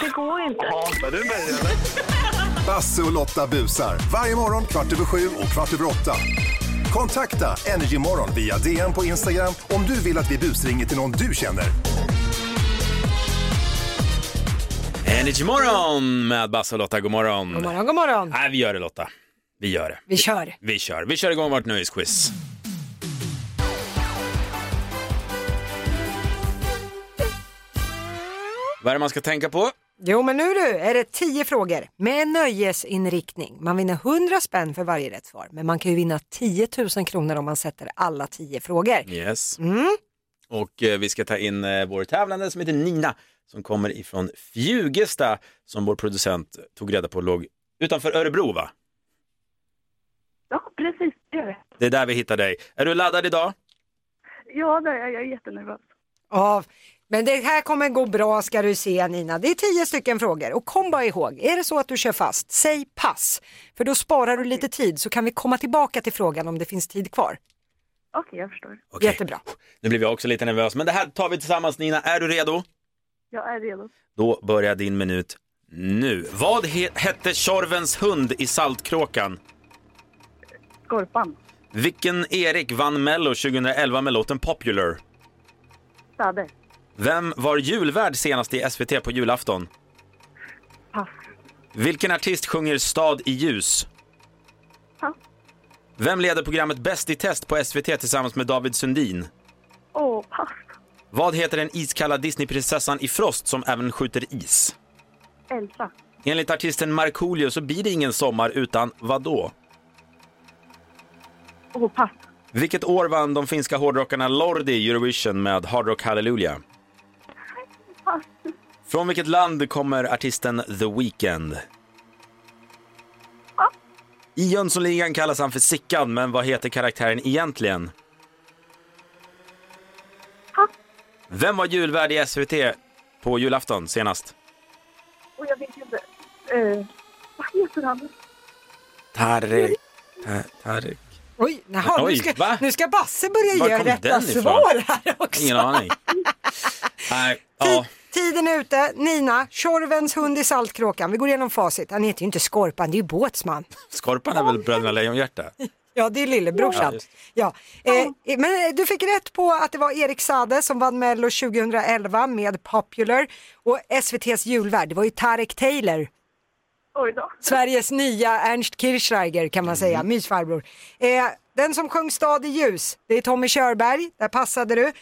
S9: Det går inte. Hatar du mig eller? Basse och Lotta busar. Varje morgon kvart över sju och kvart över åtta. Kontakta Energymorgon via DM på Instagram om du vill att vi busringer till någon du känner.
S1: Energy morgon med Basse och Lotta. God morgon.
S2: God morgon, god morgon.
S1: Nej, vi gör det Lotta. Vi gör det.
S2: Vi kör.
S1: Vi kör. Vi kör igång vårt nöjesquiz. Vad är det man ska tänka på?
S2: Jo men nu du är det 10 frågor med nöjesinriktning. Man vinner 100 spänn för varje rätt svar men man kan ju vinna 10 000 kronor om man sätter alla 10 frågor.
S1: Yes.
S2: Mm.
S1: Och eh, vi ska ta in eh, vår tävlande som heter Nina som kommer ifrån Fjugesta som vår producent tog reda på låg utanför Örebro va?
S18: Ja, precis. Det gör det.
S1: Det är där vi hittar dig. Är du laddad idag?
S18: Ja, där är jag. jag är jättenervös.
S2: Ja, men det här kommer gå bra ska du se Nina. Det är 10 stycken frågor och kom bara ihåg, är det så att du kör fast, säg pass. För då sparar du lite tid så kan vi komma tillbaka till frågan om det finns tid kvar.
S18: Okej, jag förstår.
S2: Jättebra.
S1: Nu blev jag också lite nervös men det här tar vi tillsammans Nina. Är du redo?
S18: Jag är redo.
S1: Då börjar din minut nu. Vad he- hette Tjorvens hund i Saltkråkan?
S18: Skorpan.
S1: Vilken Erik vann Mello 2011 med låten Popular?
S18: Sade.
S1: Vem var julvärd senast i SVT på julafton?
S18: Pass.
S1: Vilken artist sjunger Stad i ljus?
S18: Pass.
S1: Vem leder programmet Bäst i test på SVT tillsammans med David Sundin?
S18: Åh, pass.
S1: Vad heter den iskalla Disneyprinsessan i Frost som även skjuter is?
S18: Elsa.
S1: Enligt artisten Markoolio så blir det ingen sommar utan vadå?
S18: Åh, pass.
S1: Vilket år vann de finska hårdrockarna Lordi Eurovision med Hard Rock Hallelujah?
S18: Pass.
S1: Från vilket land kommer artisten The Weeknd? I Jönssonligan kallas han för Sickan, men vad heter karaktären egentligen? Vem var julvärd i SVT på julafton senast?
S18: Och jag vet inte. Eh, vad heter han?
S1: Tarek. Ta- Tarek.
S2: Oj, naha,
S1: Oj,
S2: nu, ska,
S1: va?
S2: nu ska Basse börja
S1: Var
S2: ge
S1: kom
S2: rätta
S1: den ifrån?
S2: svar här också.
S1: Ingen aning. Nej, ja.
S2: Tiden är ute, Nina, Tjorvens hund i Saltkråkan. Vi går igenom facit. Han heter ju inte Skorpan, det är ju Båtsman.
S1: Skorpan är väl Bröderna Lejonhjärta?
S2: Ja, det är
S1: Ja,
S2: lillebrorsan.
S1: just
S2: Ja, eh, men du fick rätt på att det var Erik Sade som vann Mello 2011 med Popular och SVTs julvärd, det var ju Tarek Taylor.
S18: Oj då.
S2: Sveriges nya Ernst Kirchsteiger kan man säga, mysfarbror. Eh, den som sjöng Stad i ljus, det är Tommy Körberg, där passade du.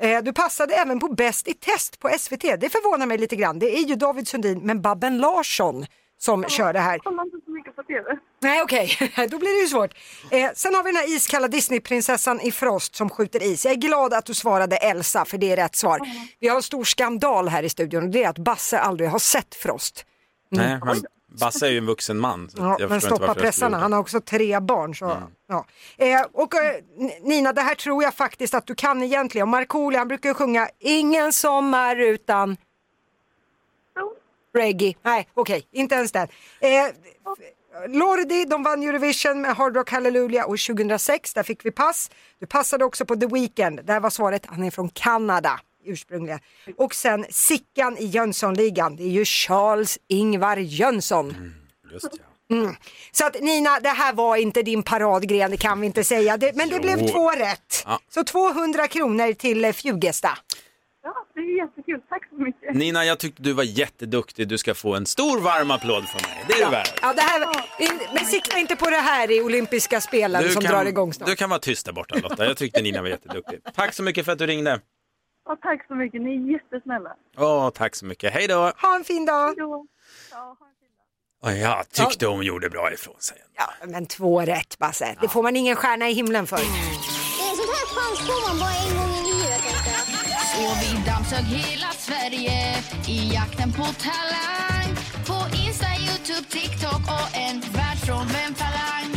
S2: Eh, du passade även på Bäst i test på SVT, det förvånar mig lite grann. Det är ju David Sundin, men Babben Larsson som kör det här.
S18: Jag kollar inte så mycket på TV.
S2: Nej okej, (laughs) då blir det ju svårt. Eh, sen har vi den här iskalla Disneyprinsessan i Frost som skjuter is. Jag är glad att du svarade Elsa för det är rätt svar. Vi har en stor skandal här i studion och det är att Basse aldrig har sett Frost.
S1: Nej, men Basse är ju en vuxen man. så
S2: Ja,
S1: jag förstår
S2: men
S1: inte
S2: stoppa
S1: varför jag skulle Mm.
S2: pressarna,
S1: gjort
S2: han har också tre barn. Så, ja. eh, och eh, N- Nina, det här tror jag faktiskt att du kan egentligen. Och Markoolio han brukar ju sjunga Ingen sommar utan reggae. Nej, okej, inte ens den. Eh, Lordi, de vann Eurovision med Hard Rock Hallelujah och 2006, där fick vi pass. Du passade också på The Weeknd, där var svaret, han är från Kanada ursprungligen. Och sen Sickan i Jönssonligan, det är ju Charles-Ingvar Jönsson.
S1: det. Just, ja.
S2: Mm. Så att Nina, det här var inte din paradgren, det kan vi inte säga. Det, men det
S1: Jo.
S2: blev två rätt.
S1: Ja.
S2: Så 200 kronor till eh, Fjugesta.
S18: jättekul. Tack så
S14: Mm.
S18: mycket.
S1: Nina, jag tyckte du var jätteduktig. Du ska få en stor varm applåd från mig. Det är du värd.
S2: Ja, det här, in, men sikta inte på det här i olympiska spelen
S1: Du
S2: som
S1: kan-
S2: drar igång snart.
S1: Du kan vara tyst där borta Lotta. Jag tyckte Nina var jätteduktig. Tack så mycket för att du ringde.
S18: Ja, tack så mycket. Ni är jättesnälla.
S1: Åh, tack så mycket. Hej då!
S2: Ha en fin dag.
S1: Åh, Ja, tyckte hon gjorde bra ifrån sig.
S2: Ja, men två rätt Basse. Det får man ingen stjärna i himlen för.
S4: Eh, Sånt här chans får man bara en gång i livet. tänkte jag.
S5: Och vi dammsög hela Sverige i jakten på talang På Insta, Youtube, TikTok och en världsfrånvänd falang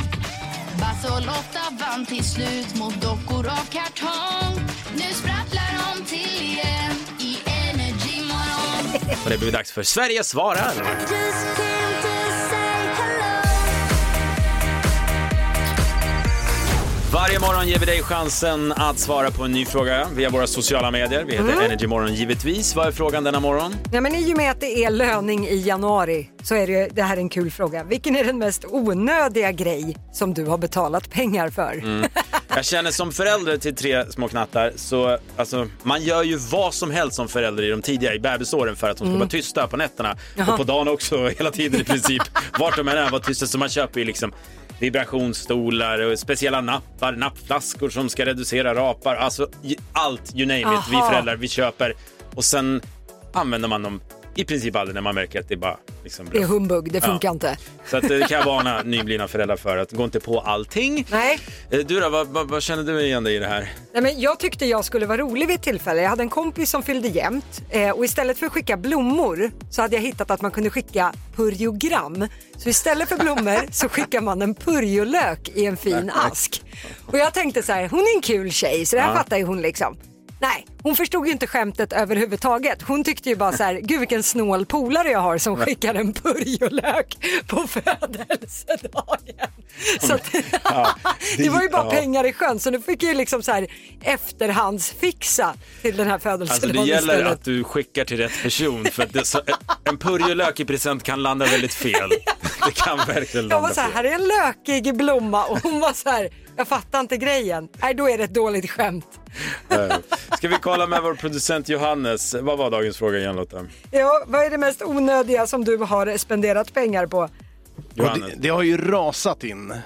S5: Basse och Lotta vann till slut mot dockor av kartong Nu sprattlar de till igen i Energy Morgon
S1: Och det blir dags för Sverige svarar. Varje morgon ger vi dig chansen att svara på en ny fråga via våra sociala medier. Vi heter
S2: Mm.
S1: Energymorgon givetvis. Vad är frågan denna morgon?
S2: Ja, men I och med att det är löning i januari så är det, ju- det här är en kul fråga. Vilken är den mest onödiga grej som du har betalat pengar för?
S1: Mm. Jag känner som förälder till tre små knattar så alltså, man gör ju vad som helst som förälder i de tidiga i bebisåren för att de ska
S2: Mm.
S1: vara tysta på nätterna
S2: Jaha.
S1: och på dagen också hela tiden
S2: (laughs)
S1: i princip. Vart de än är, var tysta. Så man köper ju liksom vibrationsstolar och speciella nappar, nappflaskor som ska reducera rapar. Alltså ju- allt, you name it, vi
S2: Aha.
S1: föräldrar, vi köper. Och sen använder man dem i princip aldrig när man märker att det är bara liksom
S2: Det är
S1: bluff.
S2: humbug, det
S1: Ja.
S2: funkar inte.
S1: Så att eh, det kan jag varna nyblivna föräldrar för, att gå inte på allting.
S2: Nej.
S1: Eh, Du då, vad, vad, vad känner du igen dig i det här?
S2: Nej, men jag tyckte jag skulle vara rolig vid ett tillfälle. Jag hade en kompis som fyllde jämnt eh, och istället för att skicka blommor så hade jag hittat att man kunde skicka purjogram. Så istället för blommor så skickar man en purjolök i en fin ask. Och jag tänkte så här, hon är en kul tjej så det här
S12: Ja.
S2: fattar ju hon liksom. Nej, hon förstod ju inte skämtet överhuvudtaget. Hon tyckte ju bara så här, gud vilken snål polare jag har som skickar en purjolök på födelsedagen. Så att, (laughs) det var ju bara
S1: Ja.
S2: pengar i sjön så nu fick jag ju liksom så här efterhandsfixa till den här
S1: Alltså
S2: födelsedagen
S1: det gäller
S2: istället.
S1: att du skickar till rätt person för att det, så, en purjolök i present kan landa
S2: (laughs)
S1: väldigt fel. Det kan verkligen
S2: Jag var
S1: landa
S2: så här, här
S1: fel.
S2: är en lökig blomma och hon var så här, jag fattar inte grejen. Nej, då är det ett dåligt skämt.
S1: Eh, Ska vi kolla med vår producent Johannes, vad var dagens fråga igen Lotta?
S2: (laughs) Ja, vad är det mest onödiga som du har spenderat pengar på?
S3: Och det, det har ju rasat in eh,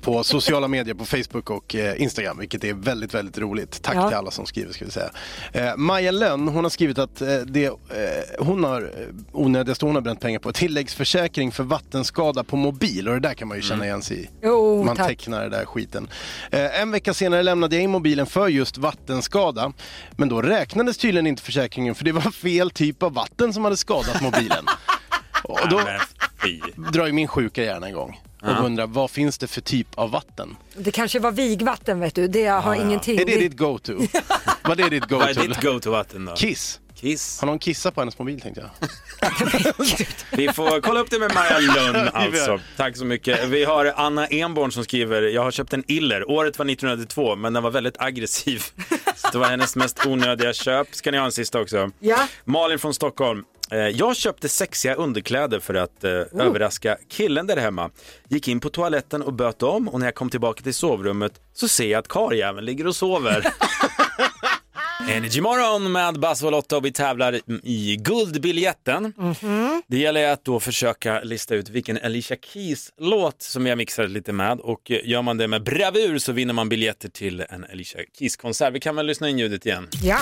S3: på sociala medier, på Facebook och eh, Instagram, vilket är väldigt, väldigt roligt. Tack
S2: Ja.
S3: till alla som skriver, ska vi säga. Eh, Maja Lönn, hon har skrivit att eh, det, eh, hon har eh, onödigaste hon har bränt pengar på, tilläggsförsäkring för vattenskada på mobil och det där kan man ju känna igen sig i.
S2: Jo,
S3: man
S2: tack.
S3: tecknar den där skiten. Eh, en vecka senare lämnade jag in mobilen för just vattenskada, men då räknades tydligen inte försäkringen för det var fel typ av vatten som hade skadat mobilen. Och då, drar ju min sjuka hjärna igång och
S2: Ja.
S3: undrar vad finns det för typ av vatten?
S2: Det kanske var vigvatten vet du, det har ingenting.
S3: Är det ditt (laughs) go-to? Vad är ditt go-to?
S1: Vad är ditt go-to-vatten då?
S3: Kiss.
S1: Kiss.
S3: Har någon kissat på hennes mobil tänkte jag.
S1: Vi får kolla upp det med Maja Lund alltså. Tack så mycket. Vi har Anna Enborn som skriver, jag har köpt en iller. Året var 1992 men den var väldigt aggressiv. Så det var hennes mest onödiga köp. Ska ni ha en sista också?
S2: Ja.
S1: Malin från Stockholm. Eh, Jag köpte sexiga underkläder för att eh, överraska killen där hemma. Gick in på toaletten och böt om och när jag kom tillbaka till sovrummet så ser jag att karljäveln ligger och sover. Energy morgon med Basse och Lotta och vi tävlar i guldbiljetten. Det gäller att då försöka lista ut vilken Alicia Keys-låt som jag mixade lite med och eh, gör man det med bravur så vinner man biljetter till en Alicia Keys-konsert. Vi kan väl lyssna in ljudet igen.
S2: Ja.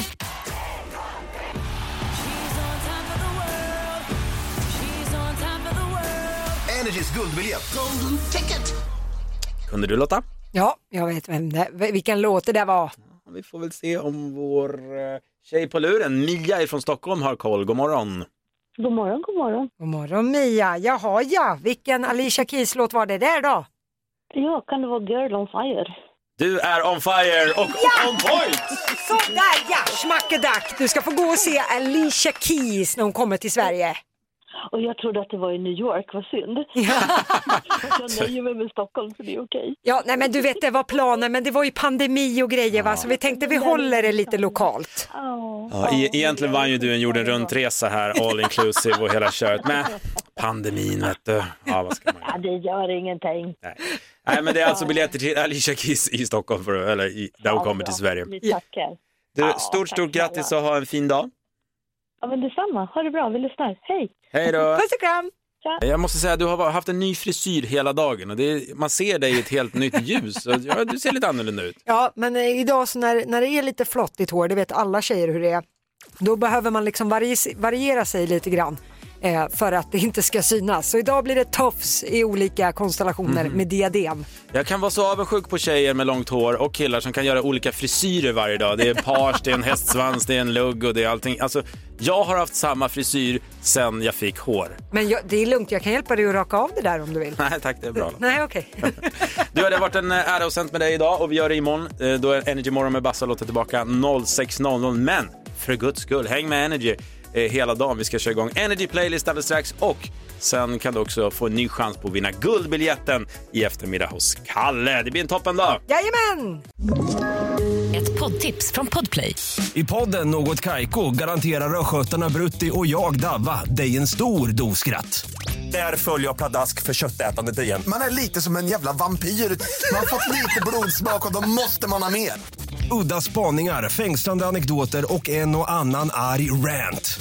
S9: Energys guldbiljett.
S1: Kunde du Lotta?
S2: Ja, jag vet vem det, vilken låt det där var.
S1: Vi får väl se om vår eh, tjej på luren, Mia från Stockholm, har koll. God morgon.
S2: God morgon, god morgon. God morgon Mia. Jaha ja, vilken Alicia Keys-låt var det där då? Ja, kan det vara Girl on fire?
S1: Du är on fire och
S2: Ja!
S1: on point!
S2: Sådär ja, schmackedack. Du ska få gå och se Alicia Keys när hon kommer till Sverige.
S18: Och jag trodde att det var i New York, vad synd. (laughs) jag nöjer mig med Stockholm så det är okej.
S2: Ja, nej men du vet det var planen men det var ju pandemi och grejer va så vi tänkte vi håller det lite lokalt.
S1: Ja, e- egentligen vann ju du en jorden runt-resa här, all inclusive och hela köret. Men pandemin vet du. Ja, vad ska man...
S18: Ja, det gör ingenting.
S1: Nej, men det är alltså biljetter till Alicia Keys i Stockholm, för, eller i, där hon kommer till Sverige.
S18: Vi tackar.
S1: Du, stort, stort grattis och ha en fin dag.
S18: Ja, men detsamma. Ha det bra. Vi lyssnar. Hej!
S1: Hej då!
S2: Puss och kram!
S1: Jag måste säga, du har haft en ny frisyr hela dagen och det är, man ser dig i ett helt nytt ljus. Och, ja, du ser lite annorlunda ut.
S2: Ja, men eh, idag så när, när det är lite flottigt hår, det vet alla tjejer hur det är, då behöver man liksom varie, variera sig lite grann eh, för att det inte ska synas. Så idag blir det tofs i olika konstellationer
S1: Mhm.
S2: med diadem.
S1: Jag kan vara så avundsjuk på tjejer med långt hår och killar som kan göra olika frisyrer varje dag. Det är page, det är en hästsvans, det är en lugg och det är allting. Alltså, jag har haft samma frisyr sen jag fick hår.
S2: Men jag, det är lugnt, jag kan hjälpa dig att raka av det där om du vill.
S1: Nej tack, det är bra.
S2: Nej, okej. (laughs)
S1: Du, det har varit en eh, ära och sänt med dig idag och vi gör det imorgon. Eh, Då är Energy Morgon med Bassa låter tillbaka 06.00. Men för guds skull, häng med Energy eh, hela dagen. Vi ska köra igång Energy Playlist alldeles strax och sen kan du också få en ny chans på att vinna guldbiljetten i eftermiddag hos Kalle. Det blir en toppen dag.
S2: Jajamän!
S12: Ett poddtips från Podplay.
S13: I podden Något Kaiko garanterar östgötarna Brutti och jag, Davva, dig en stor dos skratt. Där följer jag pladask för köttätandet igen.
S21: Man är lite som en jävla vampyr. Man har fått lite blodsmak och då måste man ha mer.
S13: Udda spaningar, fängslande anekdoter och en och annan arg rant.